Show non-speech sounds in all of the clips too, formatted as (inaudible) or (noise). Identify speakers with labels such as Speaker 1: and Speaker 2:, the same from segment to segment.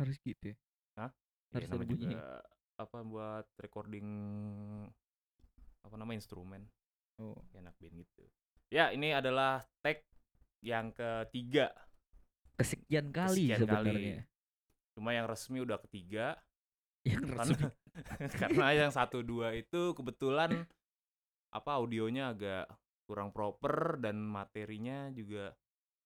Speaker 1: Harus gitu ya?
Speaker 2: Hah? Ya
Speaker 1: Harus ada
Speaker 2: namanya juga
Speaker 1: bunyinya?
Speaker 2: apa buat recording apa nama instrumen
Speaker 1: Oh.
Speaker 2: enak band gitu. Ya, ini adalah tag yang ketiga.
Speaker 1: Kesekian kali
Speaker 2: Kesekian kali.
Speaker 1: sebenarnya. Ya,
Speaker 2: Cuma yang resmi udah ketiga
Speaker 1: Yang (laughs) resmi.
Speaker 2: karena (laughs) karena yang satu dua itu kebetulan apa audionya agak kurang proper dan materinya juga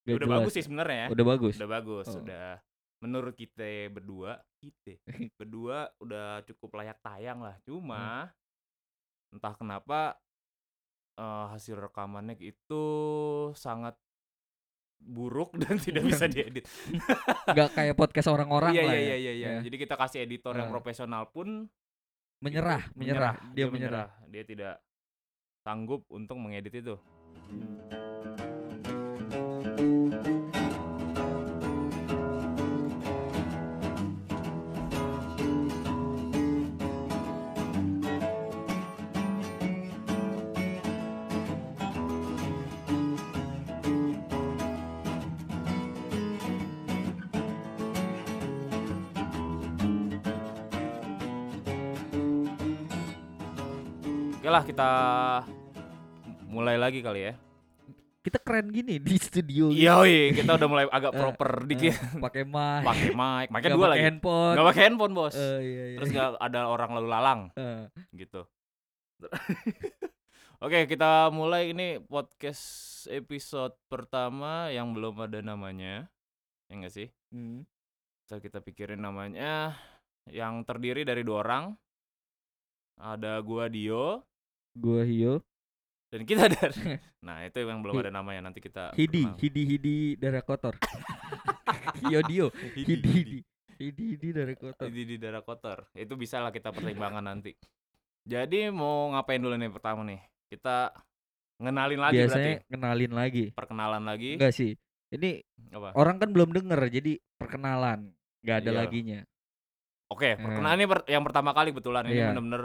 Speaker 1: Gak
Speaker 2: udah
Speaker 1: jelas.
Speaker 2: bagus sih sebenarnya ya.
Speaker 1: Udah bagus.
Speaker 2: Udah bagus,
Speaker 1: Oh.
Speaker 2: udah menurut kita berdua,
Speaker 1: (laughs)
Speaker 2: kita berdua udah cukup layak tayang lah. Cuma
Speaker 1: Hmm.
Speaker 2: entah kenapa eh, hasil rekamannya itu sangat buruk (laughs) dan tidak bisa diedit.
Speaker 1: Gak kayak podcast orang-orang
Speaker 2: Iya
Speaker 1: lah
Speaker 2: iya
Speaker 1: ya.
Speaker 2: iya iya. iya.
Speaker 1: Ya.
Speaker 2: Jadi kita kasih editor yang
Speaker 1: Ah.
Speaker 2: profesional pun
Speaker 1: Menyerah,
Speaker 2: itu
Speaker 1: menyerah. Dia menyerah.
Speaker 2: Dia tidak sanggup untuk mengedit itu. Oke lah kita mulai lagi kali ya.
Speaker 1: Kita keren gini di studio.
Speaker 2: Iya, woi, kita udah mulai agak proper
Speaker 1: gitu.
Speaker 2: dikit.
Speaker 1: Eh, (laughs) Pakai mic.
Speaker 2: (laughs)
Speaker 1: (laughs)
Speaker 2: Pakai mic, mic
Speaker 1: gak
Speaker 2: dua
Speaker 1: pakai
Speaker 2: lagi.
Speaker 1: handphone.
Speaker 2: Gak pakai handphone, Bos.
Speaker 1: Eh, iya, iya.
Speaker 2: Terus gak ada orang lalu lalang
Speaker 1: Eh,
Speaker 2: gitu. (laughs) Oke, kita mulai ini podcast episode pertama yang belum ada namanya. Ya enggak sih?
Speaker 1: hmm.
Speaker 2: Ntar kita pikirin namanya yang terdiri dari dua orang. Ada gua Dio
Speaker 1: Gua Hio.
Speaker 2: dan kita
Speaker 1: (laughs)
Speaker 2: dari. Nah, itu yang belum ada namanya nanti kita
Speaker 1: Hidi,
Speaker 2: perkenalkan.
Speaker 1: Hidi, Hidi darah
Speaker 2: (laughs)
Speaker 1: kotor. Hio Dio, Hidi, Hidi, Hidi, Hidi darah kotor.
Speaker 2: di, di daerah kotor itu bisa lah kita
Speaker 1: (laughs)
Speaker 2: pertimbangkan nanti jadi mau ngapain dulu nih pertama nih kita ngenalin lagi
Speaker 1: Biasanya
Speaker 2: berarti
Speaker 1: kenalin lagi.
Speaker 2: perkenalan lagi
Speaker 1: Enggak sih. Ini
Speaker 2: apa
Speaker 1: orang kan belum denger jadi perkenalan. Gak ada
Speaker 2: Iya.
Speaker 1: laginya.
Speaker 2: oke perkenalan ini per- yang pertama kali betulan
Speaker 1: Hmm.
Speaker 2: ini
Speaker 1: Iya.
Speaker 2: bener-bener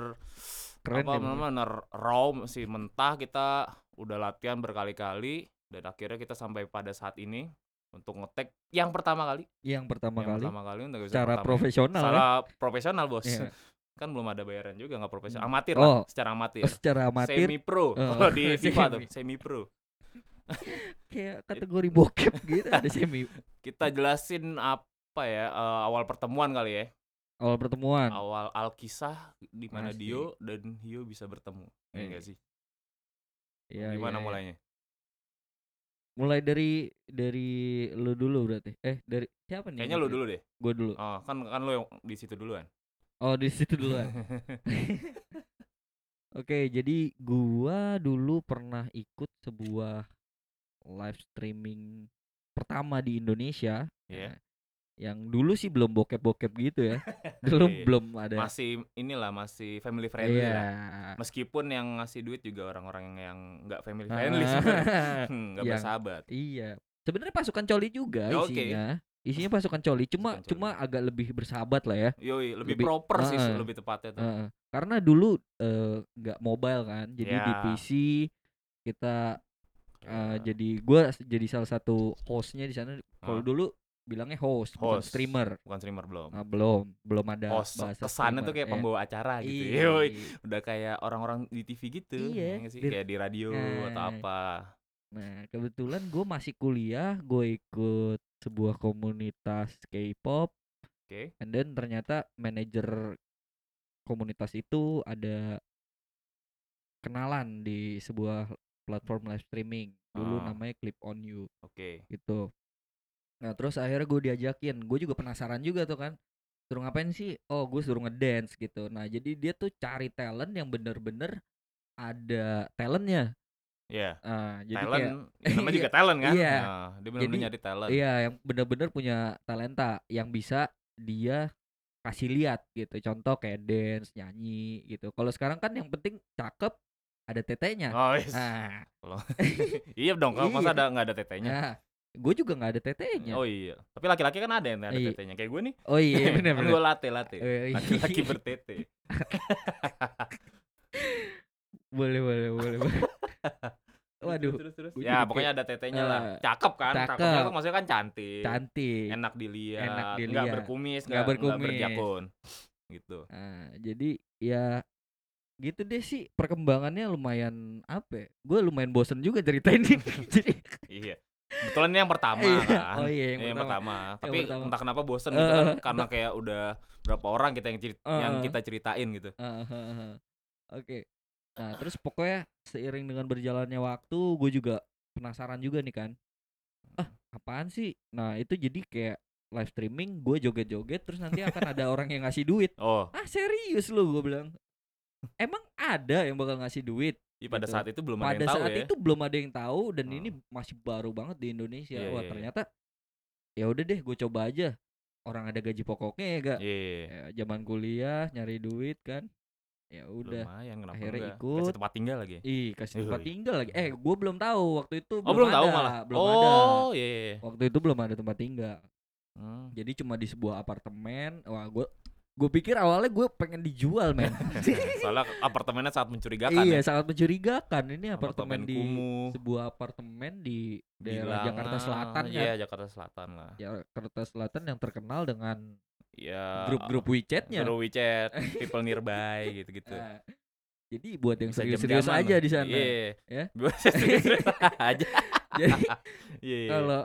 Speaker 1: Keren
Speaker 2: apa
Speaker 1: ya, bener.
Speaker 2: bener-bener raw sih mentah kita udah latihan berkali-kali dan akhirnya kita sampai pada saat ini untuk ngetek yang pertama kali
Speaker 1: Yang pertama
Speaker 2: yang
Speaker 1: kali
Speaker 2: pertama kali untuk episode
Speaker 1: secara
Speaker 2: pertama.
Speaker 1: profesional ya.
Speaker 2: secara profesional bos (laughs)
Speaker 1: Iya.
Speaker 2: kan belum ada bayaran juga nggak profesional
Speaker 1: Hmm.
Speaker 2: amatir
Speaker 1: Oh.
Speaker 2: lah secara amatir
Speaker 1: secara amatir
Speaker 2: semi pro
Speaker 1: Eh,
Speaker 2: kalau
Speaker 1: (laughs)
Speaker 2: di FIFA tuh
Speaker 1: semi.
Speaker 2: semi pro
Speaker 1: kayak kategori bokep gitu ada semi
Speaker 2: kita jelasin apa ya eh, awal pertemuan kali ya
Speaker 1: awal pertemuan
Speaker 2: awal alkisah di mana
Speaker 1: Hmm. Asik.
Speaker 2: Dio dan Hio bisa bertemu ya
Speaker 1: Iya.
Speaker 2: enggak sih
Speaker 1: Iya,
Speaker 2: gimana
Speaker 1: iya, iya.
Speaker 2: mulainya
Speaker 1: mulai dari dari lu dulu berarti eh dari siapa nih gitu.
Speaker 2: kayaknya lu dulu deh
Speaker 1: gue dulu
Speaker 2: oh kan kan lu yang di situ duluan
Speaker 1: oh di situ
Speaker 2: (laughs)
Speaker 1: duluan (laughs) Oke, jadi gua dulu pernah ikut sebuah live streaming pertama di Indonesia. ya,
Speaker 2: Iya.
Speaker 1: Yang dulu sih belum bokep-bokep gitu
Speaker 2: (laughs)
Speaker 1: ya. Dulu
Speaker 2: Iya.
Speaker 1: belum ada.
Speaker 2: masih inilah masih family friendly
Speaker 1: Iya.
Speaker 2: lah meskipun yang ngasih duit juga orang-orang yang nggak family
Speaker 1: Ah,
Speaker 2: friendly
Speaker 1: (laughs)
Speaker 2: sebenarnya. Hmm, nggak
Speaker 1: Yang-
Speaker 2: bersahabat
Speaker 1: Iya. Sebenarnya pasukan coli juga
Speaker 2: Ya, oke.
Speaker 1: isinya. Isinya pasukan coli, cuma
Speaker 2: Pasukan coli.
Speaker 1: cuma agak lebih bersahabat lah ya.
Speaker 2: yoi lebih,
Speaker 1: Lebih-
Speaker 2: proper sih
Speaker 1: Ah, ah.
Speaker 2: lebih tepatnya tuh
Speaker 1: Heeh. karena dulu eh, nggak mobile kan, jadi di
Speaker 2: Ya.
Speaker 1: PC kita Eh,
Speaker 2: Ya.
Speaker 1: jadi gua s- jadi salah satu hostnya di sana kalau
Speaker 2: Hah?
Speaker 1: dulu bilangnya host, bukan
Speaker 2: Host.
Speaker 1: streamer
Speaker 2: bukan streamer belum
Speaker 1: Nah, belum belum ada
Speaker 2: Oh, so- kesannya tuh kayak
Speaker 1: pembawa
Speaker 2: pembawa acara gitu.
Speaker 1: iya,
Speaker 2: Yoi.
Speaker 1: iya.
Speaker 2: Udah kayak orang-orang di TV gitu.
Speaker 1: Iya.
Speaker 2: ya nggak sih?
Speaker 1: Di-
Speaker 2: Kayak di radio atau
Speaker 1: Nah.
Speaker 2: apa.
Speaker 1: nah kebetulan gue masih kuliah gue ikut sebuah komunitas K-pop
Speaker 2: Oke.
Speaker 1: and then ternyata manajer komunitas itu ada kenalan di sebuah platform live streaming dulu
Speaker 2: Ah.
Speaker 1: namanya Clip on You
Speaker 2: Oke.
Speaker 1: gitu nah terus akhirnya gue diajakin gue juga penasaran juga tuh kan suruh ngapain sih oh gue suruh ngedance gitu nah jadi dia tuh cari talent yang bener-bener ada talentnya
Speaker 2: Iya.
Speaker 1: Ah, jadi kayak
Speaker 2: Talent, ya namanya
Speaker 1: (laughs) Iya.
Speaker 2: juga talent kan?
Speaker 1: Iya.
Speaker 2: Nah, dia benar-benar
Speaker 1: Jadi-
Speaker 2: nyari talent.
Speaker 1: iya yang bener-bener punya talenta yang bisa dia kasih lihat gitu contoh kayak dance nyanyi gitu kalau sekarang kan yang penting cakep ada tetenya
Speaker 2: Oh, yes.
Speaker 1: nah, (laughs)
Speaker 2: iya dong, kalau masa
Speaker 1: Iya.
Speaker 2: ada nggak ada tetenya?
Speaker 1: gue juga nggak ada tetenya
Speaker 2: Oh iya. Tapi laki-laki kan ada yang ada
Speaker 1: Iya.
Speaker 2: tetenya. Kayak gue nih.
Speaker 1: (laughs) oh
Speaker 2: (laughs)
Speaker 1: iya bener-bener
Speaker 2: gue latte latte.
Speaker 1: Eh, (laughs)
Speaker 2: Laki-laki bertete. (laughs)
Speaker 1: boleh boleh boleh boleh. Waduh,
Speaker 2: Terus terus.
Speaker 1: gua
Speaker 2: terus. Ya
Speaker 1: jadi
Speaker 2: pokoknya ada tetenya lah.
Speaker 1: eh,
Speaker 2: Cakep kan? Cakepnya
Speaker 1: cakep.
Speaker 2: tuh maksudnya kan cantik.
Speaker 1: cantik.
Speaker 2: Enak dilihat.
Speaker 1: Enak
Speaker 2: Nggak
Speaker 1: dilihat.
Speaker 2: berkumis,
Speaker 1: Nggak
Speaker 2: nggak
Speaker 1: berkumis.
Speaker 2: berjakun. Gitu.
Speaker 1: Nah, jadi ya gitu deh sih perkembangannya lumayan apa? Gue lumayan bosen juga ceritain ini. (laughs) jadi
Speaker 2: Iya. Kebetulan ini yang pertama
Speaker 1: Iya.
Speaker 2: kan.
Speaker 1: Oh iya, yang
Speaker 2: Ini yang, pertama. Tapi
Speaker 1: pertama.
Speaker 2: entah kenapa bosen gitu
Speaker 1: (laughs)
Speaker 2: kan,
Speaker 1: Eh,
Speaker 2: karena kayak udah berapa orang kita yang cerit-
Speaker 1: Eh,
Speaker 2: yang
Speaker 1: eh.
Speaker 2: kita ceritain gitu.
Speaker 1: Ah, ah, ah, ah. Oke. Nah, terus pokoknya seiring dengan berjalannya waktu, gue juga penasaran juga nih kan. Ah, apaan sih? Nah, itu jadi kayak live streaming, gue joget-joget, terus nanti akan
Speaker 2: (laughs)
Speaker 1: ada orang yang ngasih duit.
Speaker 2: Oh,
Speaker 1: Ah, serius lu? Gue bilang. Emang ada yang bakal ngasih duit?
Speaker 2: iya pada
Speaker 1: Gitu.
Speaker 2: saat itu belum
Speaker 1: Pada
Speaker 2: ada yang tahu
Speaker 1: saat
Speaker 2: ya.
Speaker 1: itu belum ada yang tahu dan
Speaker 2: Hmm.
Speaker 1: ini masih baru banget di Indonesia.
Speaker 2: Iya,
Speaker 1: Wah,
Speaker 2: iya, iya.
Speaker 1: ternyata ya udah deh, gue coba aja. Orang ada gaji pokoknya ya gak?
Speaker 2: Iya.
Speaker 1: Ya, zaman kuliah nyari duit kan. Ya udah.
Speaker 2: Lumayan kenapa
Speaker 1: Akhirnya
Speaker 2: enggak?
Speaker 1: ikut.
Speaker 2: Kasih tempat tinggal lagi.
Speaker 1: Ih, kasih tempat
Speaker 2: Yoi.
Speaker 1: tinggal lagi. Eh, gue belum tahu waktu itu.
Speaker 2: Oh, belum tahu
Speaker 1: ada,
Speaker 2: malah.
Speaker 1: Belum
Speaker 2: oh,
Speaker 1: ada.
Speaker 2: iya. iya, iya.
Speaker 1: Waktu itu belum ada tempat tinggal.
Speaker 2: Hmm.
Speaker 1: Jadi cuma di sebuah apartemen. Wah, gue gue pikir awalnya gue pengen dijual,
Speaker 2: (laughs)
Speaker 1: men.
Speaker 2: Soalnya apartemennya sangat mencurigakan
Speaker 1: iya,
Speaker 2: ya.
Speaker 1: sangat mencurigakan. Ini
Speaker 2: Apartemen
Speaker 1: apartemen, di
Speaker 2: kumuh.
Speaker 1: sebuah apartemen di daerah
Speaker 2: Bilangan,
Speaker 1: Jakarta Selatan kan.
Speaker 2: Iya, Jakarta Selatan lah.
Speaker 1: Jakarta Selatan yang terkenal dengan
Speaker 2: Iya.
Speaker 1: grup-grup WeChatnya.
Speaker 2: Grup WeChat, people nearby gitu-gitu.
Speaker 1: Nah, jadi buat yang
Speaker 2: Bisa
Speaker 1: serius-serius
Speaker 2: jam-jaman
Speaker 1: aja
Speaker 2: lah.
Speaker 1: di sana.
Speaker 2: Iya. (laughs)
Speaker 1: Ya.
Speaker 2: Buat yang serius-serius aja.
Speaker 1: (laughs) Jadi
Speaker 2: Iya. iya.
Speaker 1: kalau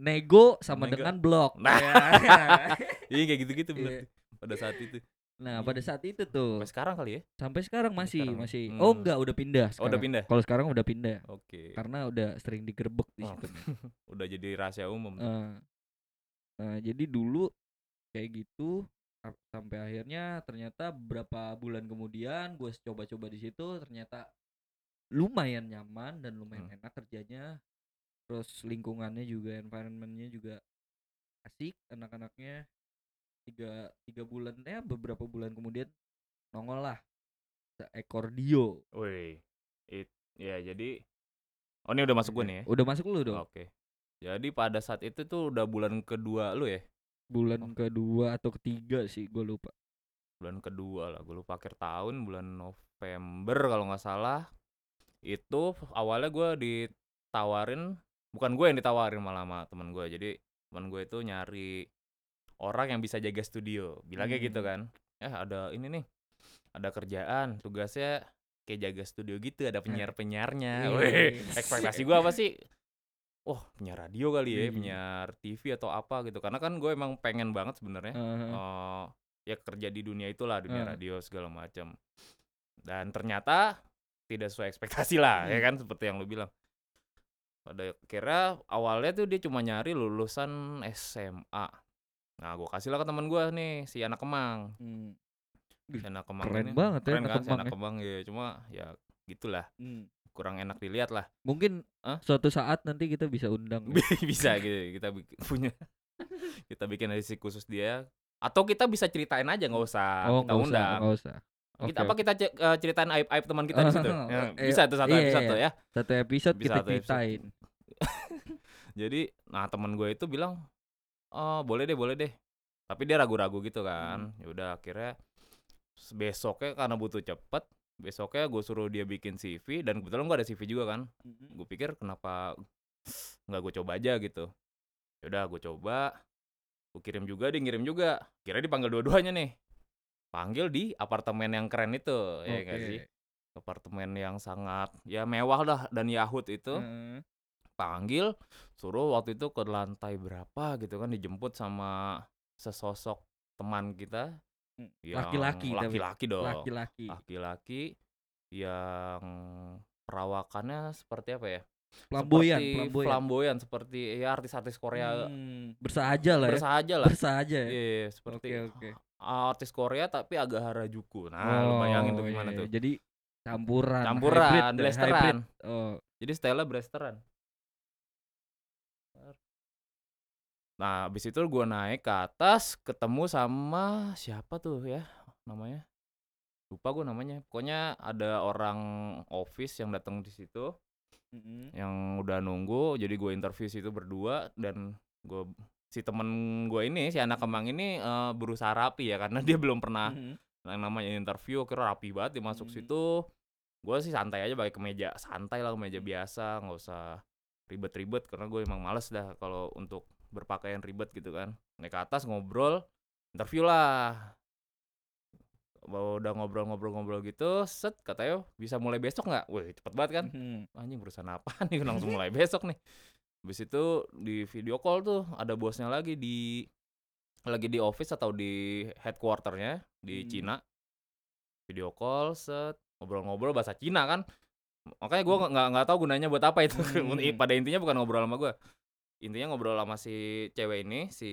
Speaker 1: nego sama
Speaker 2: Nego.
Speaker 1: dengan blok.
Speaker 2: Nah.
Speaker 1: Ya. (laughs)
Speaker 2: Iya kayak gitu-gitu bener
Speaker 1: Iya.
Speaker 2: tuh. Pada saat itu.
Speaker 1: Nah,
Speaker 2: Iya.
Speaker 1: pada saat itu tuh
Speaker 2: Sampai sekarang kali ya?
Speaker 1: sampai sekarang
Speaker 2: Sampai
Speaker 1: masih
Speaker 2: sekarang.
Speaker 1: masih.
Speaker 2: Hmm.
Speaker 1: Oh, enggak udah pindah
Speaker 2: Oh, udah
Speaker 1: sekarang.
Speaker 2: pindah.
Speaker 1: Kalau sekarang udah pindah
Speaker 2: Oke.
Speaker 1: karena udah sering digerebek di
Speaker 2: Oh.
Speaker 1: situ.
Speaker 2: Udah jadi rahasia umum. tuh.
Speaker 1: Eh, nah, jadi dulu kayak gitu a- sampai akhirnya ternyata berapa bulan kemudian gue coba-coba di situ ternyata lumayan nyaman dan lumayan
Speaker 2: Hmm.
Speaker 1: enak kerjanya. Terus lingkungannya juga environmentnya juga asik anak-anaknya tiga tiga bulan ya beberapa bulan kemudian nongol lah seekor dio
Speaker 2: Wih. It, ya jadi Oh, ini udah masuk gue nih ya.
Speaker 1: Iya, udah masuk lu dong
Speaker 2: Oke. Jadi pada saat itu tuh udah bulan kedua lu ya?
Speaker 1: bulan
Speaker 2: Oh.
Speaker 1: kedua atau ketiga sih gue lupa
Speaker 2: Bulan kedua lah, gue lupa akhir tahun bulan November kalau nggak salah. Itu awalnya gue ditawarin, bukan gue yang ditawarin malah sama teman gue. Jadi teman gue itu nyari orang yang bisa jaga studio. Bilangnya
Speaker 1: Hmm.
Speaker 2: gitu kan. Eh ada ini nih, ada kerjaan, tugasnya kayak jaga studio gitu, ada penyiar-penyiarnya. Weh.
Speaker 1: Yes.
Speaker 2: ekspektasi gue apa sih? Wah, punya radio kali ya,
Speaker 1: Iya.
Speaker 2: penyiar TV atau apa gitu. Karena kan gue emang pengen banget sebenarnya
Speaker 1: Heeh.
Speaker 2: eh, ya kerja di dunia itulah, dunia
Speaker 1: Heeh.
Speaker 2: radio segala macam. Dan ternyata tidak sesuai ekspektasi lah, ya kan seperti yang lu bilang. Pada kira awalnya tuh dia cuma nyari lulusan SMA. Nah, gue kasih lah ke teman gue nih, si anak Kemang.
Speaker 1: Hmm,
Speaker 2: Si anak Kemang
Speaker 1: Keren
Speaker 2: ini.
Speaker 1: banget ya
Speaker 2: keren
Speaker 1: anak
Speaker 2: kan, si
Speaker 1: Kemang
Speaker 2: anak
Speaker 1: ya.
Speaker 2: Kemang ya. Cuma ya gitulah,
Speaker 1: hmm.
Speaker 2: kurang enak dilihat lah. (laughs)
Speaker 1: mungkin
Speaker 2: Hah?
Speaker 1: suatu saat nanti kita bisa undang ya.
Speaker 2: Bi-
Speaker 1: (laughs)
Speaker 2: bisa gitu kita bikin, punya kita bikin edisi khusus dia atau kita bisa ceritain aja nggak usah
Speaker 1: oh nggak
Speaker 2: kita
Speaker 1: usah
Speaker 2: undang
Speaker 1: nggak usah
Speaker 2: kita,
Speaker 1: Oke,
Speaker 2: apa kita ce- eh, ceritain aib aib teman kita di
Speaker 1: (laughs)
Speaker 2: situ
Speaker 1: Oh,
Speaker 2: Ya,
Speaker 1: eh,
Speaker 2: bisa tuh satu
Speaker 1: iya,
Speaker 2: episode
Speaker 1: iya.
Speaker 2: tuh ya
Speaker 1: satu episode
Speaker 2: Bisa
Speaker 1: kita
Speaker 2: satu episode.
Speaker 1: ceritain
Speaker 2: jadi nah teman gue itu bilang oh boleh deh boleh deh tapi dia ragu-ragu gitu kan
Speaker 1: Hmm.
Speaker 2: ya udah akhirnya s- besoknya karena butuh cepet besoknya gue suruh dia bikin CV dan kebetulan gue ada CV juga kan gue pikir kenapa nggak gue coba aja gitu yaudah gue coba gue kirim juga dia ngirim juga kira dipanggil dua-duanya nih panggil di apartemen yang keren itu ya nggak
Speaker 1: Oke.
Speaker 2: sih apartemen yang sangat ya mewah lah dan Yahut itu
Speaker 1: Heeh.
Speaker 2: panggil suruh waktu itu ke lantai berapa gitu kan dijemput sama sesosok teman kita
Speaker 1: Hmm,
Speaker 2: yang
Speaker 1: laki-laki tapi.
Speaker 2: laki-laki dong
Speaker 1: laki-laki
Speaker 2: Ah, laki-laki yang perawakannya seperti apa ya
Speaker 1: flamboyan
Speaker 2: seperti
Speaker 1: flamboyan
Speaker 2: flamboyan, seperti ya artis-artis Korea
Speaker 1: Hmm, bersahaja lah ya
Speaker 2: bersahaja lah
Speaker 1: bersahaja ya
Speaker 2: Iya,
Speaker 1: oke
Speaker 2: iya, seperti
Speaker 1: oke
Speaker 2: artis Korea tapi agak harajuku nah lu bayangin tuh
Speaker 1: Oh,
Speaker 2: gimana
Speaker 1: iya,
Speaker 2: tuh
Speaker 1: jadi campuran
Speaker 2: campuran
Speaker 1: hybrid, dan
Speaker 2: blasteran
Speaker 1: hybrid. oh
Speaker 2: jadi style blasteran nah abis itu gua naik ke atas ketemu sama siapa tuh ya namanya lupa gua namanya pokoknya ada orang office yang datang di situ Mm-hmm.
Speaker 1: Mm-mm.
Speaker 2: yang udah nunggu jadi gue interview situ berdua dan gue si temen gue ini si anak kemang ini eh, berusaha rapi ya karena (laughs) dia belum pernah
Speaker 1: Mm-mm.
Speaker 2: yang namanya interview kira rapi banget dia masuk
Speaker 1: Hmm.
Speaker 2: situ gue sih santai aja pakai kemeja santai lah kemeja biasa nggak usah ribet-ribet karena gue emang males dah kalau untuk berpakaian ribet gitu kan naik ke atas ngobrol interview lah Bawa- udah ngobrol-ngobrol-ngobrol gitu set katanya bisa mulai besok nggak wih cepet banget kan
Speaker 1: Mhm.
Speaker 2: anjing perusahaan apa (laughs) nih langsung mulai besok nih habis itu di video call tuh ada bosnya lagi di lagi di office atau di headquarternya di
Speaker 1: Hmm.
Speaker 2: Cina video call set ngobrol-ngobrol bahasa Cina kan makanya gue nggak nggak tahu gunanya buat apa itu
Speaker 1: Hmm.
Speaker 2: pada intinya bukan ngobrol sama gue intinya ngobrol sama si cewek ini si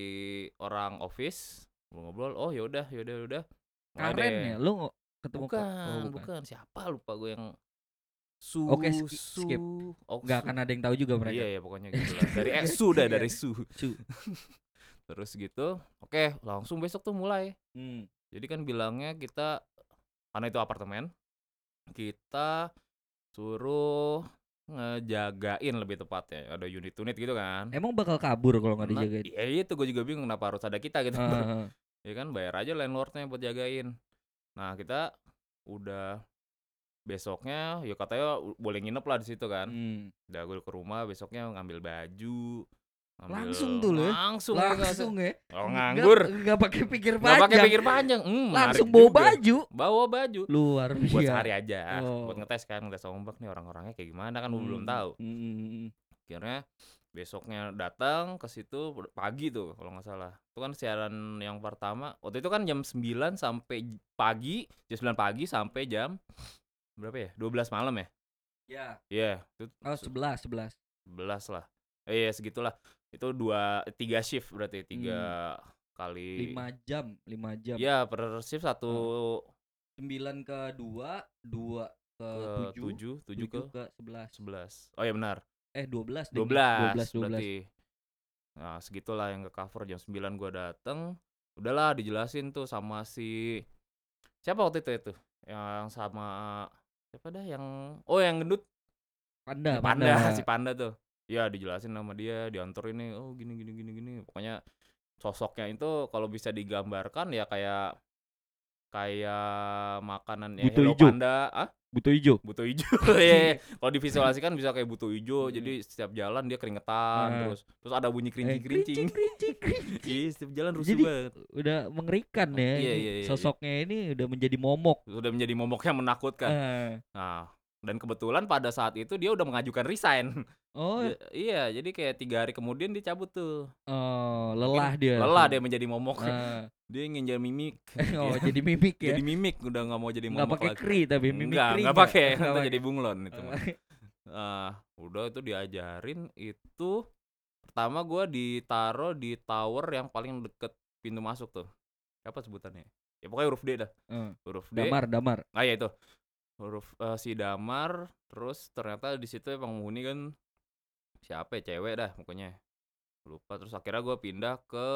Speaker 2: orang office ngobrol oh yaudah yaudah yaudah Mulai
Speaker 1: Karen
Speaker 2: deh.
Speaker 1: ya, lu ngo- ketemu Ka-
Speaker 2: Bukan,
Speaker 1: oh,
Speaker 2: bukan, Siapa lupa gue yang Su
Speaker 1: Oke, ski-
Speaker 2: Su
Speaker 1: skip.
Speaker 2: oh,
Speaker 1: Nggak
Speaker 2: Su.
Speaker 1: akan ada yang tahu juga mereka. Iya.
Speaker 2: Iya ya pokoknya gitu lah.
Speaker 1: (laughs)
Speaker 2: Dari eh, Su dah dari Su.
Speaker 1: Su.
Speaker 2: (laughs) Terus gitu. Oke, langsung besok tuh mulai.
Speaker 1: Hmm.
Speaker 2: Jadi kan bilangnya kita karena itu apartemen, kita suruh ngejagain lebih tepatnya. Ada unit-unit gitu kan.
Speaker 1: Emang bakal kabur kalau nggak Eh,
Speaker 2: Nah, (laughs)
Speaker 1: dijagain. Ah.
Speaker 2: Iya itu gue juga bingung kenapa harus ada kita gitu.
Speaker 1: Heeh.
Speaker 2: ya kan bayar aja landlordnya buat jagain nah kita udah besoknya ya katanya u- boleh nginep lah di situ kan
Speaker 1: Hmm.
Speaker 2: udah gue ke rumah besoknya ngambil baju ngambil-
Speaker 1: Langsung tuh lo ya?
Speaker 2: langsung ya, nggak usah-
Speaker 1: Langsung ya.
Speaker 2: oh
Speaker 1: Nggak-
Speaker 2: nganggur
Speaker 1: Nggak pakai pikir
Speaker 2: nggak pakai
Speaker 1: panjang.
Speaker 2: pikir panjang Hmm, menarik
Speaker 1: Langsung bawa
Speaker 2: juga.
Speaker 1: baju.
Speaker 2: bawa baju
Speaker 1: Luar biasa.
Speaker 2: buat sehari aja
Speaker 1: Oh. Hmm.
Speaker 2: buat ngetes kan ngetes ombak nih orang-orangnya kayak gimana kan gue belum tahu akhirnya besoknya datang ke situ pada- pagi tuh kalau nggak salah itu kan siaran yang pertama waktu itu kan jam 9 sampai j- pagi jam 9 pagi sampai jam berapa ya 12 malam ya
Speaker 1: Ya.
Speaker 2: iya itu
Speaker 1: Oh, 11, 11.
Speaker 2: 11 lah eh, iya segitulah itu dua tiga shift berarti tiga kali
Speaker 1: 5 jam, 5 jam.
Speaker 2: ya per shift satu
Speaker 1: 9 ke 2, 2 ke
Speaker 2: ke
Speaker 1: 7,
Speaker 2: eh, tujuh tujuh ke
Speaker 1: 7 ke 11.
Speaker 2: 11 oh ya benar
Speaker 1: Eh, 12 deh.
Speaker 2: 12,
Speaker 1: 12, 12.
Speaker 2: berarti. Nah, segitulah yang ke cover jam 9 gua dateng. Udahlah dijelasin tuh sama si siapa waktu itu itu? Yang sama siapa dah yang oh yang gendut
Speaker 1: Panda,
Speaker 2: si panda, (laughs) si panda tuh. Ya dijelasin sama dia, diantar ini oh gini gini gini gini. Pokoknya sosoknya itu kalau bisa digambarkan ya kayak kayak makanan ya
Speaker 1: Buto
Speaker 2: Hello
Speaker 1: hijau.
Speaker 2: Panda, ah
Speaker 1: Butuh hijau.
Speaker 2: butuh (laughs) hijau ya kalau divisualisikan bisa kayak butuh hijau
Speaker 1: Hmm.
Speaker 2: jadi setiap jalan dia keringetan
Speaker 1: Ah.
Speaker 2: terus terus ada bunyi
Speaker 1: Eh,
Speaker 2: kerincing kerincing
Speaker 1: kerincing, kerincing.
Speaker 2: (laughs) iya setiap jalan rusuh
Speaker 1: Jadi-
Speaker 2: banget
Speaker 1: udah mengerikan ya.
Speaker 2: Iya,
Speaker 1: ini.
Speaker 2: iya, iya, iya.
Speaker 1: Sosoknya ini udah menjadi momok.
Speaker 2: sudah menjadi momok yang menakutkan
Speaker 1: Ah.
Speaker 2: nah dan kebetulan pada saat itu dia udah mengajukan resign
Speaker 1: oh,
Speaker 2: Dia- (laughs) iya jadi kayak tiga hari kemudian dia cabut tuh
Speaker 1: oh, lelah dia.
Speaker 2: Iya. lelah dia menjadi momok
Speaker 1: Ah.
Speaker 2: (laughs) dia ingin jadi
Speaker 1: (laughs)
Speaker 2: mimik
Speaker 1: oh,
Speaker 2: Iya.
Speaker 1: jadi mimik ya.
Speaker 2: (laughs) jadi mimik udah nggak mau jadi
Speaker 1: Nggak
Speaker 2: momok
Speaker 1: pakai
Speaker 2: lagi
Speaker 1: kri tapi mimik
Speaker 2: Nggak,
Speaker 1: kri
Speaker 2: nggak
Speaker 1: nggak.
Speaker 2: pakai
Speaker 1: Nggak
Speaker 2: Ntar
Speaker 1: pakai.
Speaker 2: jadi bunglon itu mah.
Speaker 1: Ah.
Speaker 2: Ah, udah itu diajarin itu pertama gua ditaruh di tower yang paling deket pintu masuk tuh. Apa sebutannya? Ya pokoknya huruf D dah.
Speaker 1: Eh,
Speaker 2: Huruf D.
Speaker 1: damar, damar.
Speaker 2: Ah ya itu. Huruf eh, si Damar terus ternyata di situ emang penghuni kan siapa ya cewek dah pokoknya. Lupa terus akhirnya gua pindah ke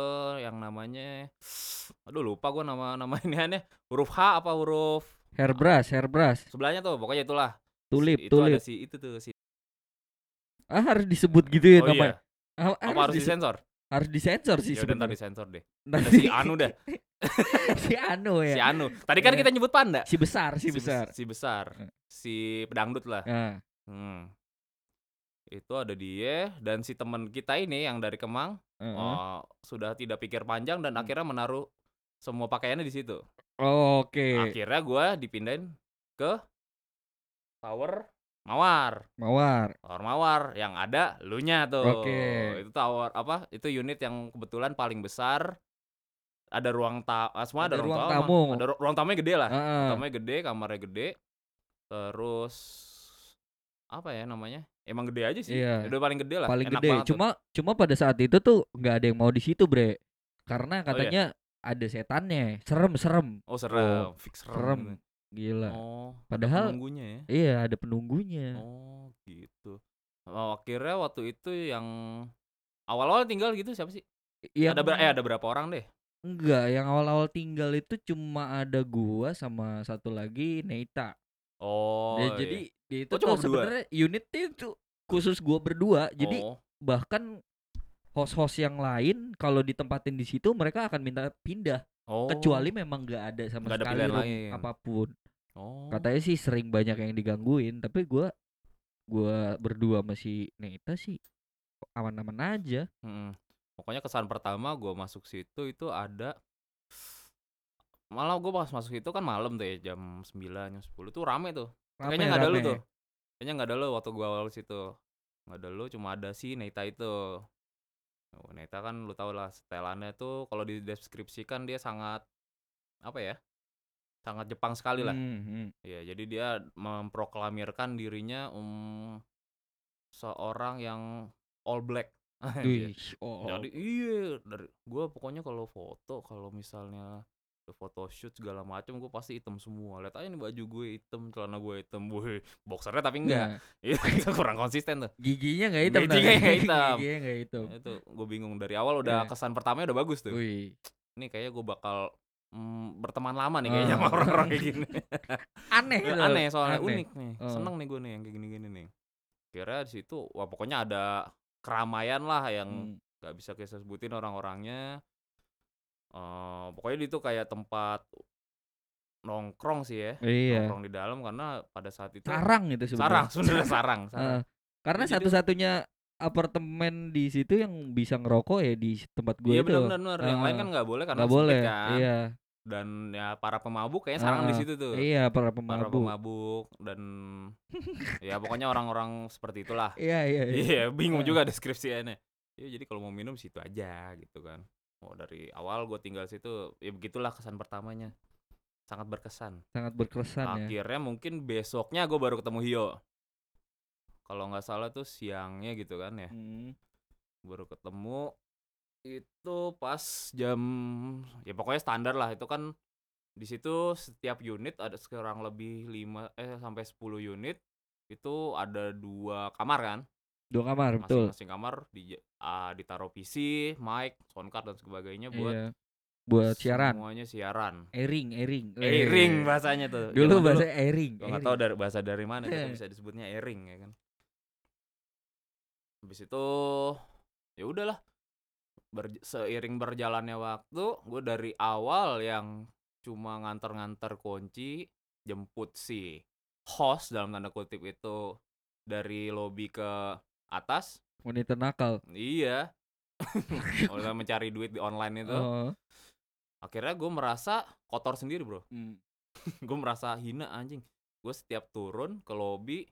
Speaker 2: yang namanya aduh lupa gua nama nama (laughs) ini aneh. Huruf H apa huruf
Speaker 1: Hairbrush, hairbrush.
Speaker 2: sebelahnya tuh pokoknya itulah.
Speaker 1: Tulip,
Speaker 2: itu
Speaker 1: tulip.
Speaker 2: ada si itu tuh si
Speaker 1: Ah, harus disebut gitu ya
Speaker 2: Oh
Speaker 1: namanya.
Speaker 2: iya,
Speaker 1: Ah,
Speaker 2: apa harus
Speaker 1: dise-
Speaker 2: disensor?
Speaker 1: harus disensor sih
Speaker 2: Ya udah ntar
Speaker 1: sebenarnya.
Speaker 2: disensor deh. Ada
Speaker 1: Nanti-
Speaker 2: si Anu dah,
Speaker 1: (laughs) si Anu
Speaker 2: si
Speaker 1: ya.
Speaker 2: Anu. Tadi kan
Speaker 1: Iya.
Speaker 2: kita nyebut panda.
Speaker 1: Si besar, si
Speaker 2: bes-
Speaker 1: besar. Hmm.
Speaker 2: Si besar.
Speaker 1: Heeh.
Speaker 2: Si pedangdut lah.
Speaker 1: Ah,
Speaker 2: Hmm. Itu ada dia dan si teman kita ini yang dari Kemang
Speaker 1: ah, ah.
Speaker 2: oh, sudah tidak pikir panjang dan
Speaker 1: Hmm.
Speaker 2: akhirnya menaruh semua pakaiannya di situ. Oh.
Speaker 1: Oke,
Speaker 2: Akhirnya gua dipindahin ke tower Mawar.
Speaker 1: Mawar.
Speaker 2: Tower Mawar yang ada lunya tuh.
Speaker 1: Oke.
Speaker 2: Itu tower apa? Itu unit yang kebetulan paling besar. Ada ruang ta ah, semua ada,
Speaker 1: Ada
Speaker 2: ruang,
Speaker 1: ruang
Speaker 2: tamu.
Speaker 1: tamu.
Speaker 2: Ada ru- ruang tamunya gede lah.
Speaker 1: Ah, ah.
Speaker 2: Kamarnya gede, kamarnya gede. Terus apa ya namanya? Emang gede aja sih.
Speaker 1: Iya.
Speaker 2: Udah paling gede lah.
Speaker 1: paling
Speaker 2: Enak
Speaker 1: gede.
Speaker 2: banget tuh.
Speaker 1: Cuma cuma pada saat itu tuh nggak ada yang mau di situ, Bre. Karena
Speaker 2: iya?
Speaker 1: katanya ada setannya. Serem-serem.
Speaker 2: oh serem, fix serem.
Speaker 1: Serem.
Speaker 2: gitu.
Speaker 1: Gila.
Speaker 2: Oh,
Speaker 1: Padahal
Speaker 2: penunggunya ya.
Speaker 1: iya ada penunggunya.
Speaker 2: Oh, gitu. Oh, akhirnya waktu itu yang awal-awal tinggal gitu siapa sih?
Speaker 1: Yang-
Speaker 2: Ada ber- eh ada berapa orang deh?
Speaker 1: Enggak, yang awal-awal tinggal itu cuma ada gua sama satu lagi Neita.
Speaker 2: Oh.
Speaker 1: Ya,
Speaker 2: iya.
Speaker 1: jadi dia itu
Speaker 2: Oh,
Speaker 1: tuh
Speaker 2: cuma berdua?
Speaker 1: sebenarnya unitnya itu khusus gua berdua. Jadi
Speaker 2: Oh,
Speaker 1: bahkan host-host yang lain kalau ditempatin di situ mereka akan minta pindah
Speaker 2: oh.
Speaker 1: kecuali memang nggak ada sama
Speaker 2: Nggak ada
Speaker 1: sekali
Speaker 2: pilihan
Speaker 1: room
Speaker 2: lain.
Speaker 1: apapun.
Speaker 2: Oh.
Speaker 1: katanya sih sering banyak yang digangguin tapi gua gua berdua masih Neta sih aman-aman aja
Speaker 2: Mm-mm. hmm. Pokoknya kesan pertama gue masuk situ itu ada malah gue pas masuk itu kan malam tuh ya jam 9 jam 10 tuh rame tuh
Speaker 1: Rame,
Speaker 2: kayaknya nggak ada lu
Speaker 1: rame.
Speaker 2: tuh kayaknya nggak ada lu waktu gue awal situ nggak ada lu cuma ada si Neta itu oh, Neta kan lu tau lah setelannya tuh kalau dideskripsikan dia sangat apa ya sangat Jepang sekali lah
Speaker 1: Hmm,
Speaker 2: (laughs)
Speaker 1: hmm.
Speaker 2: Iya, jadi dia memproklamirkan dirinya um, seorang yang all black. (laughs) Anjir.
Speaker 1: Wih, oh.
Speaker 2: Iya. Jadi iya, dari gua pokoknya kalau foto kalau misalnya ke photoshoot segala macam gue pasti hitam semua. Lihat aja nih baju gue hitam, celana gue hitam, gue boxernya tapi enggak. (laughs) Iya,
Speaker 1: Nah,
Speaker 2: Itu kurang konsisten tuh.
Speaker 1: giginya nggak hitam
Speaker 2: Giginya
Speaker 1: tapi.
Speaker 2: nggak hitam. Gitu.
Speaker 1: giginya nggak hitam
Speaker 2: Itu gue bingung dari awal
Speaker 1: Iya.
Speaker 2: udah kesan pertamanya udah bagus tuh.
Speaker 1: Wih.
Speaker 2: Nih kayaknya gue bakal mm, berteman lama nih kayaknya sama
Speaker 1: Ah.
Speaker 2: orang-orang
Speaker 1: (laughs)
Speaker 2: kayak gini.
Speaker 1: aneh gitu.
Speaker 2: Eh,
Speaker 1: tuh.
Speaker 2: aneh soalnya
Speaker 1: Iya, Aneh.
Speaker 2: unik nih
Speaker 1: Oh.
Speaker 2: seneng nih gue nih yang kayak gini-gini nih kira di situ wah pokoknya ada keramaian lah yang
Speaker 1: Hmm.
Speaker 2: nggak bisa kita sebutin orang-orangnya Eh, pokoknya itu kayak tempat nongkrong sih ya
Speaker 1: iya
Speaker 2: nongkrong di dalam karena pada saat itu
Speaker 1: sarang itu
Speaker 2: sarang
Speaker 1: sebenarnya
Speaker 2: (laughs) sebenarnya sarang, sarang.
Speaker 1: Heeh. karena
Speaker 2: Jadi-
Speaker 1: satu-satunya apartemen di situ yang bisa ngerokok ya di tempat gue
Speaker 2: iya
Speaker 1: itu
Speaker 2: benar benar yang lain
Speaker 1: Heeh.
Speaker 2: kan nggak boleh karena
Speaker 1: nggak
Speaker 2: sempit
Speaker 1: boleh
Speaker 2: kan
Speaker 1: iya
Speaker 2: dan ya para pemabuk kayaknya sarang di
Speaker 1: Ah,
Speaker 2: situ tuh
Speaker 1: iya para
Speaker 2: para
Speaker 1: pemabuk
Speaker 2: pemabuk
Speaker 1: (laughs)
Speaker 2: dan ya pokoknya orang-orang seperti itulah
Speaker 1: iya iya iya
Speaker 2: Iya, bingung
Speaker 1: Heeh.
Speaker 2: juga deskripsiannya. Ya jadi kalau mau minum situ aja gitu kan. Oh dari awal gue tinggal situ, ya begitulah kesan pertamanya. Sangat berkesan.
Speaker 1: sangat berkesan ya
Speaker 2: Akhirnya mungkin besoknya gue baru ketemu Hio. Kalau nggak salah tuh siangnya gitu kan ya,
Speaker 1: Hmm.
Speaker 2: baru ketemu itu pas jam ya pokoknya standar lah itu kan di situ setiap unit ada sekarang lebih 5 eh sampai 10 unit itu ada dua kamar kan
Speaker 1: dua kamar betul
Speaker 2: masing-masing ya kamar di ah, ditaruh PC, mic, sound card dan sebagainya buat
Speaker 1: iya buat siaran
Speaker 2: Semuanya siaran.
Speaker 1: airing airing Eh.
Speaker 2: Airing bahasanya tuh.
Speaker 1: dulu
Speaker 2: Zaman
Speaker 1: bahasa airing
Speaker 2: gua nggak
Speaker 1: airing.
Speaker 2: tahu dari bahasa dari mana
Speaker 1: Eh.
Speaker 2: tapi bisa disebutnya airing ya kan. Habis itu ya udahlah. Berj- seiring berjalannya waktu, gue dari awal yang cuma nganter-nganter kunci, jemput si host dalam tanda kutip itu dari lobby ke atas.
Speaker 1: wanita nakal
Speaker 2: Iya.
Speaker 1: (laughs)
Speaker 2: Udah mencari duit di online itu.
Speaker 1: oh.
Speaker 2: Akhirnya gue merasa kotor sendiri bro. (laughs)
Speaker 1: Hmm.
Speaker 2: Gue merasa hina anjing. Gue setiap turun ke lobby,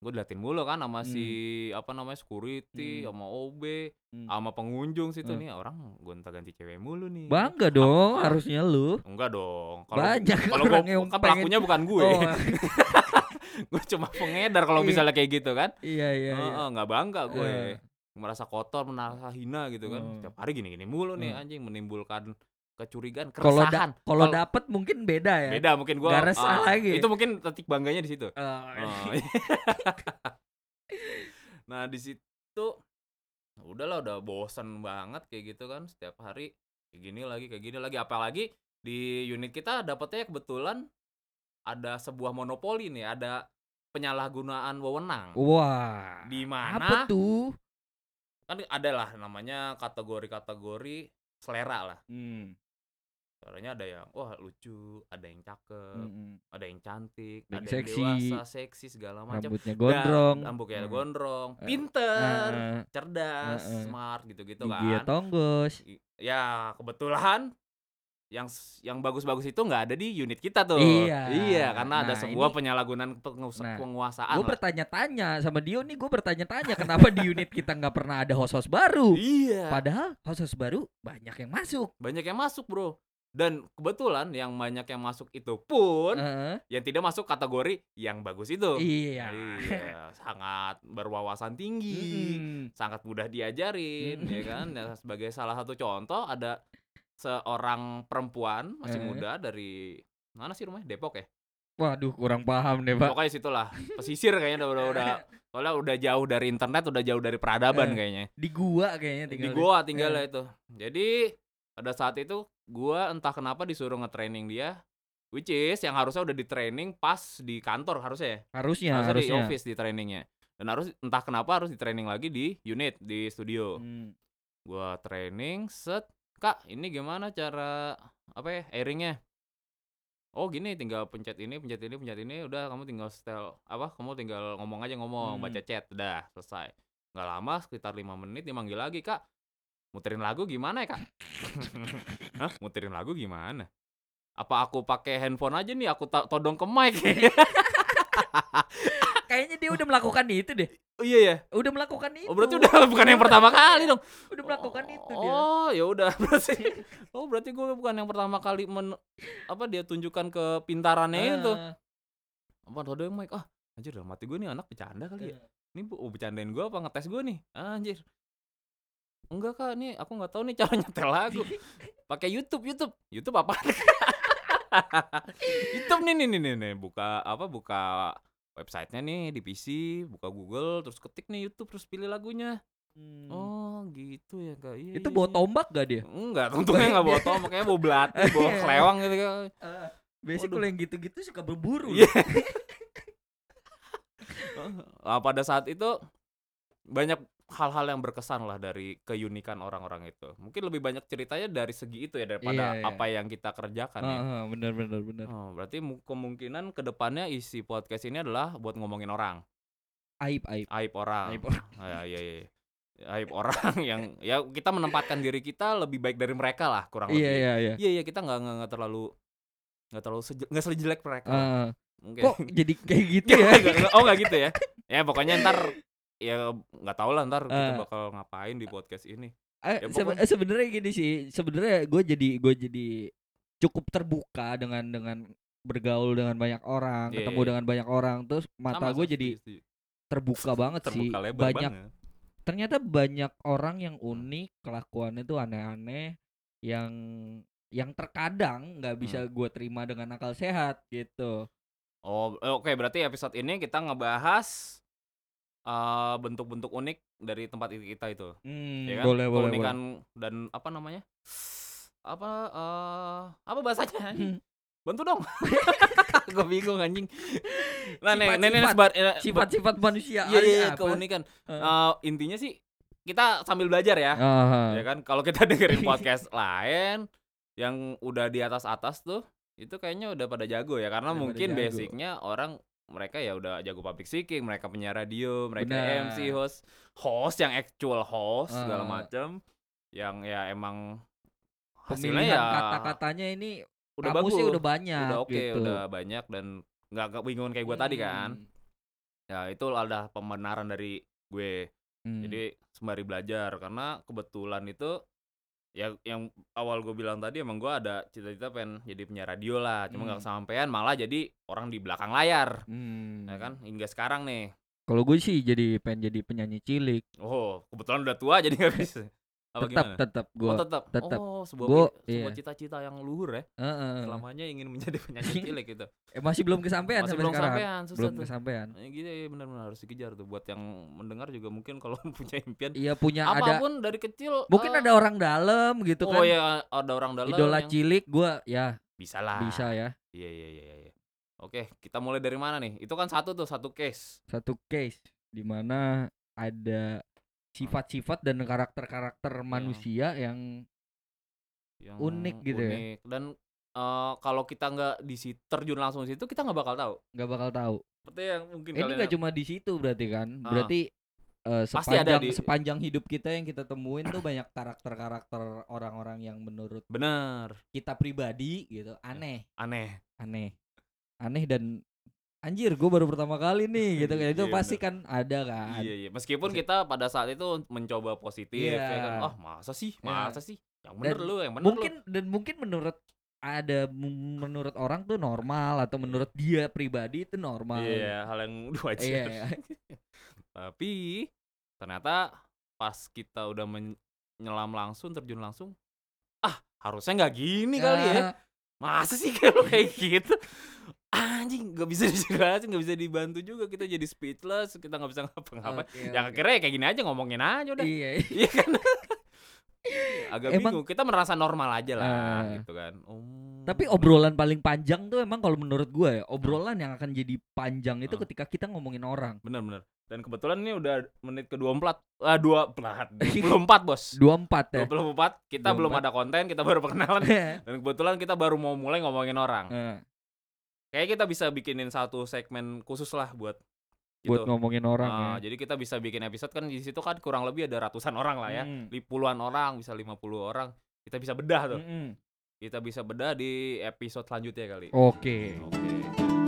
Speaker 2: gue diliatin mulu kan sama si apa namanya security,
Speaker 1: Hmm.
Speaker 2: sama OB,
Speaker 1: Hmm.
Speaker 2: sama pengunjung situ
Speaker 1: Hmm.
Speaker 2: nih orang gonta ganti cewek mulu nih.
Speaker 1: bangga dong harusnya lu
Speaker 2: Enggak dong. Kalau
Speaker 1: banyak (laughs)
Speaker 2: kalau
Speaker 1: orang
Speaker 2: gue
Speaker 1: yang
Speaker 2: kan
Speaker 1: pengen
Speaker 2: pelakunya bukan gue.
Speaker 1: Oh,
Speaker 2: (laughs) gue cuma pengedar kalau
Speaker 1: Iya.
Speaker 2: misalnya kayak gitu kan.
Speaker 1: iya iya,
Speaker 2: Heeh,
Speaker 1: iya.
Speaker 2: nggak bangga gue.
Speaker 1: Eh.
Speaker 2: merasa kotor, merasa hina gitu kan.
Speaker 1: Hmm.
Speaker 2: Setiap hari gini-gini mulu nih
Speaker 1: Hmm.
Speaker 2: anjing menimbulkan kecurigaan,
Speaker 1: kalau
Speaker 2: keresahan.
Speaker 1: da- kalau
Speaker 2: Kalau-
Speaker 1: dapet mungkin beda ya
Speaker 2: Beda mungkin gua.
Speaker 1: Nggak resah
Speaker 2: ah,
Speaker 1: lagi.
Speaker 2: Itu mungkin titik bangganya di situ.
Speaker 1: Eh, (laughs)
Speaker 2: Oh. nah, di situ udahlah udah bosen banget kayak gitu kan setiap hari kayak gini lagi kayak gini lagi apalagi di unit kita dapetnya kebetulan ada sebuah monopoli nih, ada penyalahgunaan wewenang.
Speaker 1: wah
Speaker 2: Di
Speaker 1: apa
Speaker 2: mana
Speaker 1: tuh
Speaker 2: kan ada lah namanya kategori-kategori selera lah
Speaker 1: Hmm,
Speaker 2: Soalnya ada yang wah lucu, ada yang
Speaker 1: hmm,
Speaker 2: cakep,
Speaker 1: hmm.
Speaker 2: ada yang cantik,
Speaker 1: Yang
Speaker 2: ada
Speaker 1: seksi.
Speaker 2: yang dewasa, seksi segala macam.
Speaker 1: rambutnya gondrong
Speaker 2: Rambutnya
Speaker 1: Hmm.
Speaker 2: gondrong,
Speaker 1: Eh,
Speaker 2: pinter,
Speaker 1: Heeh,
Speaker 2: cerdas,
Speaker 1: eh, eh.
Speaker 2: smart gitu-gitu
Speaker 1: giginya
Speaker 2: kan.
Speaker 1: tonggos
Speaker 2: I- Ya, kebetulan yang s- yang bagus-bagus itu nggak ada di unit kita tuh.
Speaker 1: Iya.
Speaker 2: karena
Speaker 1: Nah,
Speaker 2: ada sebuah
Speaker 1: ini-
Speaker 2: penyalahgunaan penguasa-
Speaker 1: Nah,
Speaker 2: penguasaan.
Speaker 1: gue
Speaker 2: lah.
Speaker 1: bertanya-tanya sama Dio nih gue bertanya-tanya kenapa di unit kita nggak pernah ada host-host baru
Speaker 2: Iya.
Speaker 1: padahal host-host baru banyak yang masuk
Speaker 2: Banyak yang masuk, Bro. Dan kebetulan yang banyak yang masuk itu pun
Speaker 1: Heeh.
Speaker 2: yang tidak masuk kategori yang bagus itu.
Speaker 1: iya
Speaker 2: Iya, sangat berwawasan tinggi,
Speaker 1: Mm-mm.
Speaker 2: sangat mudah diajarin, ya kan? Dan sebagai salah satu contoh ada seorang perempuan masih
Speaker 1: Eh.
Speaker 2: muda dari mana sih rumahnya? Depok ya?
Speaker 1: waduh kurang paham deh pak
Speaker 2: Pokoknya situlah, pesisir kayaknya udah udah,
Speaker 1: (laughs)
Speaker 2: udah soalnya udah jauh dari internet, udah jauh dari
Speaker 1: Eh,
Speaker 2: peradaban kayaknya.
Speaker 1: di eh. gua kayaknya
Speaker 2: Di
Speaker 1: tinggal
Speaker 2: goa tinggalnya itu. Jadi pada saat itu gua entah kenapa disuruh nge-training dia which is yang harusnya udah di training pas di kantor harusnya ya
Speaker 1: harusnya
Speaker 2: harusnya,
Speaker 1: Iya, harusnya
Speaker 2: di office di trainingnya dan harus entah kenapa harus di training lagi di unit di studio
Speaker 1: Hmm.
Speaker 2: gua training set kak ini gimana cara apa ya airingnya oh gini tinggal pencet ini pencet ini pencet ini udah kamu tinggal setel apa kamu tinggal ngomong aja
Speaker 1: Hmm.
Speaker 2: ngomong baca chat udah selesai nggak lama sekitar lima menit dimanggil lagi kak muterin lagu gimana ya kak (laughs) Hah? muterin lagu gimana apa aku pakai handphone aja nih aku ta- todong ke
Speaker 1: (laughs)
Speaker 2: mic (laughs)
Speaker 1: Kayaknya dia udah melakukan itu deh.
Speaker 2: oh iya ya
Speaker 1: Udah melakukan itu.
Speaker 2: oh berarti
Speaker 1: (laughs)
Speaker 2: udah (laughs) bukan yang pertama kali dong
Speaker 1: Udah melakukan itu dia.
Speaker 2: oh ya udah (laughs) berarti oh berarti gue bukan yang pertama kali men apa dia tunjukkan kepintarannya itu
Speaker 1: Ah,
Speaker 2: apa todong mic ah anjir dalam hati gue nih anak bercanda kali
Speaker 1: eh,
Speaker 2: ya ini bu, bercandain gue apa ngetes gue nih Ah, anjir enggak kak nih aku nggak tahu nih cara (laughs) nyetel lagu pakai YouTube YouTube YouTube apa (laughs) YouTube nih nih nih nih nih. buka apa buka websitenya nih di PC buka Google terus ketik nih YouTube terus pilih lagunya
Speaker 1: hmm.
Speaker 2: oh gitu ya kak iya,
Speaker 1: Itu
Speaker 2: iya,
Speaker 1: bawa ya?
Speaker 2: iya.
Speaker 1: tombak gak dia?
Speaker 2: enggak untungnya enggak bawa tombak kayaknya bawa
Speaker 1: (laughs)
Speaker 2: belati bawa
Speaker 1: Iya.
Speaker 2: kelewang gitu kan
Speaker 1: Eh, biasanya
Speaker 2: Waduh.
Speaker 1: kalau yang gitu-gitu suka berburu.
Speaker 2: Iya.
Speaker 1: loh.
Speaker 2: Nah, pada saat itu banyak hal-hal yang berkesan lah dari keunikan orang-orang itu. Mungkin lebih banyak ceritanya dari segi itu ya daripada
Speaker 1: Iya, iya.
Speaker 2: apa yang kita kerjakan ya.
Speaker 1: Ah, ah, bener bener bener.
Speaker 2: Oh, berarti mu- kemungkinan kedepannya isi podcast ini adalah buat ngomongin orang,
Speaker 1: Aib aib.
Speaker 2: aib orang.
Speaker 1: Aib orang.
Speaker 2: Ah, ya, ya, ya. Aib orang (laughs) yang ya kita menempatkan diri kita lebih baik dari mereka lah kurang
Speaker 1: Iya
Speaker 2: lebih.
Speaker 1: iya iya.
Speaker 2: Iya iya kita nggak nggak nggak terlalu nggak terlalu seje- nggak sejelek mereka.
Speaker 1: Ah,
Speaker 2: Mungkin.
Speaker 1: (laughs) kok jadi kayak gitu
Speaker 2: (laughs) Nggak,
Speaker 1: ya?
Speaker 2: nggak, nggak. oh nggak gitu ya ya pokoknya ntar ya nggak tahu lah ntar kita
Speaker 1: Eh.
Speaker 2: bakal ngapain di podcast ini
Speaker 1: Eh,
Speaker 2: Ya,
Speaker 1: sebe-
Speaker 2: pokoknya-
Speaker 1: sebenarnya gini sih, sebenarnya gue jadi gue jadi cukup terbuka dengan dengan bergaul dengan banyak orang,
Speaker 2: Iya,
Speaker 1: ketemu
Speaker 2: iya.
Speaker 1: dengan banyak orang, terus mata
Speaker 2: Sama,
Speaker 1: gue
Speaker 2: sama,
Speaker 1: jadi
Speaker 2: setuju, setuju.
Speaker 1: terbuka banget
Speaker 2: terbuka
Speaker 1: sih.
Speaker 2: lebar
Speaker 1: Banyak
Speaker 2: banget
Speaker 1: ternyata banyak orang yang unik, kelakuannya tuh aneh-aneh, yang yang terkadang nggak bisa
Speaker 2: Hmm.
Speaker 1: gue terima dengan akal sehat gitu.
Speaker 2: oh eh, oke berarti episode ini kita ngebahas eh, bentuk-bentuk unik dari tempat itu kita itu
Speaker 1: Hmm,
Speaker 2: ya kan?
Speaker 1: boleh boleh.
Speaker 2: keunikan
Speaker 1: boleh.
Speaker 2: dan apa namanya apa eh, apa bahasanya
Speaker 1: (laughs) Hmm.
Speaker 2: bantu dong gue bingung anjing nah nih nih nih
Speaker 1: Sifat-sifat.
Speaker 2: sebar- eh,
Speaker 1: Sifat-sifat manusia
Speaker 2: Iya, iya, iya,
Speaker 1: apa?
Speaker 2: keunikan.
Speaker 1: Eh.
Speaker 2: Eh, intinya sih kita sambil belajar ya.
Speaker 1: Aha.
Speaker 2: Ya kan kalau kita
Speaker 1: (laughs)
Speaker 2: dengerin podcast lain yang udah di atas-atas tuh, itu kayaknya udah pada jago ya karena
Speaker 1: Udah pada
Speaker 2: mungkin
Speaker 1: jago.
Speaker 2: basicnya orang mereka ya udah jago public speaking, mereka penyiar radio, mereka
Speaker 1: Benar.
Speaker 2: MC host, host yang actual host
Speaker 1: Ah.
Speaker 2: segala macam yang ya emang hasilnya
Speaker 1: Pemilihan
Speaker 2: ya
Speaker 1: kata-katanya ini
Speaker 2: udah
Speaker 1: kamu
Speaker 2: bagus,
Speaker 1: sih
Speaker 2: udah,
Speaker 1: udah banyak
Speaker 2: oke,
Speaker 1: gitu. Hmm.
Speaker 2: udah banyak dan nggak kebingungan kayak gue tadi kan. Ya itu ada pembenaran dari gue.
Speaker 1: Hmm,
Speaker 2: Jadi sembari belajar karena kebetulan itu ya yang awal gue bilang tadi emang gue ada cita-cita pengen jadi penyiar radio lah, cuma
Speaker 1: Hmm.
Speaker 2: nggak
Speaker 1: Hmm.
Speaker 2: kesampaian malah jadi orang di belakang layar, ya kan? Hingga sekarang nih.
Speaker 1: Kalau gue sih jadi pengen jadi penyanyi cilik.
Speaker 2: Oh, kebetulan udah tua jadi nggak bisa.
Speaker 1: tetap
Speaker 2: Apa gimana?
Speaker 1: tetap
Speaker 2: oh,
Speaker 1: gue.
Speaker 2: tetap.
Speaker 1: tetap.
Speaker 2: Oh, sebuah
Speaker 1: Gua,
Speaker 2: pi- sebuah
Speaker 1: iya.
Speaker 2: cita-cita yang luhur ya.
Speaker 1: Heeh.
Speaker 2: Selamanya ingin menjadi
Speaker 1: (laughs)
Speaker 2: penyanyi cilik gitu.
Speaker 1: Eh, masih belum kesampaian
Speaker 2: Masih
Speaker 1: sampai
Speaker 2: belum ya?
Speaker 1: sekarang.
Speaker 2: sampean, susah
Speaker 1: belum
Speaker 2: tuh.
Speaker 1: kesampaian.
Speaker 2: Ya, gitu ya benar-benar harus dikejar tuh buat yang mendengar juga mungkin kalau (laughs) punya impian
Speaker 1: Iya punya ada.
Speaker 2: apapun dari kecil
Speaker 1: Mungkin
Speaker 2: eh,
Speaker 1: ada orang dalam gitu
Speaker 2: oh
Speaker 1: kan.
Speaker 2: ya ada orang dalam
Speaker 1: Idola
Speaker 2: yang-
Speaker 1: cilik gue ya
Speaker 2: bisa lah
Speaker 1: bisa ya
Speaker 2: Iya iya iya iya, iya. Oke, kita mulai dari mana nih? Itu kan satu tuh, satu case.
Speaker 1: satu case dimana ada sifat-sifat dan
Speaker 2: Iya.
Speaker 1: karakter-karakter manusia yang
Speaker 2: Yang
Speaker 1: Unik gitu ya?
Speaker 2: unik. Dan eh, kalau kita nggak di si- terjun langsung di situ, kita nggak bakal tahu.
Speaker 1: nggak bakal tahu.
Speaker 2: Seperti yang mungkin
Speaker 1: Eh, ini
Speaker 2: kalian
Speaker 1: nggak cuma di situ berarti kan
Speaker 2: Ah.
Speaker 1: berarti eh,
Speaker 2: Pasti ada
Speaker 1: sepanjang
Speaker 2: di-
Speaker 1: sepanjang hidup kita yang kita temuin tuh banyak karakter-karakter orang-orang yang menurut
Speaker 2: bener,
Speaker 1: kita pribadi gitu aneh
Speaker 2: aneh.
Speaker 1: aneh aneh dan anjir gue baru pertama kali nih
Speaker 2: (laughs)
Speaker 1: gitu kan itu
Speaker 2: Iya,
Speaker 1: pasti kan ada kan
Speaker 2: Iya iya. Meskipun
Speaker 1: Masih-
Speaker 2: kita pada saat itu mencoba positif, ya kan?
Speaker 1: Iya.
Speaker 2: Ah masa sih,
Speaker 1: Iya.
Speaker 2: masa sih? Yang bener
Speaker 1: Dan
Speaker 2: lu, yang bener
Speaker 1: mungkin dan mungkin menurut ada m- menurut orang tuh normal atau menurut dia pribadi itu
Speaker 2: lu.
Speaker 1: normal
Speaker 2: Iya, hal yang (laughs) wajar.
Speaker 1: Iya, iya.
Speaker 2: Tapi ternyata pas kita udah menyelam langsung, terjun langsung, ah harusnya nggak
Speaker 1: (laughs)
Speaker 2: gini kali ya.
Speaker 1: Ah,
Speaker 2: masa sih (laughs) kalau kayak gitu anjing nggak bisa (laughs) dijelasin nggak bisa dibantu juga kita jadi speechless kita nggak bisa
Speaker 1: Ah,
Speaker 2: ngapa-ngapain
Speaker 1: oke,
Speaker 2: yang
Speaker 1: oke.
Speaker 2: akhirnya ya kayak gini aja ngomongin aja udah
Speaker 1: iya
Speaker 2: (laughs) iya kan agak
Speaker 1: Emang-
Speaker 2: bingung kita merasa normal aja lah
Speaker 1: Ah.
Speaker 2: gitu kan Om,
Speaker 1: Tapi
Speaker 2: kenapa?
Speaker 1: obrolan paling panjang tuh emang kalau menurut gua ya, obrolan yang akan jadi panjang itu
Speaker 2: Hmm.
Speaker 1: ketika kita ngomongin orang.
Speaker 2: bener-bener dan kebetulan ini udah menit ke 24 ah dua
Speaker 1: (laughs)
Speaker 2: plat 24 bos
Speaker 1: 24 ya.
Speaker 2: 24 kita belum
Speaker 1: 24.
Speaker 2: ada konten kita baru perkenalan
Speaker 1: (laughs) Heeh.
Speaker 2: dan kebetulan kita baru mau mulai ngomongin orang Kayaknya kita bisa bikinin satu segmen khusus lah buat
Speaker 1: buat ngomongin orang
Speaker 2: Gitu. Ah,
Speaker 1: ya.
Speaker 2: Jadi kita bisa bikin episode kan di situ kan kurang lebih ada ratusan orang lah ya.
Speaker 1: Mm,
Speaker 2: Li- Puluhan orang, bisa 50 orang. Kita
Speaker 1: Hmm.
Speaker 2: bisa bedah tuh.
Speaker 1: mm-mm. Oh.
Speaker 2: Kita bisa bedah di episode selanjutnya kali.
Speaker 1: Oke.
Speaker 2: Oke.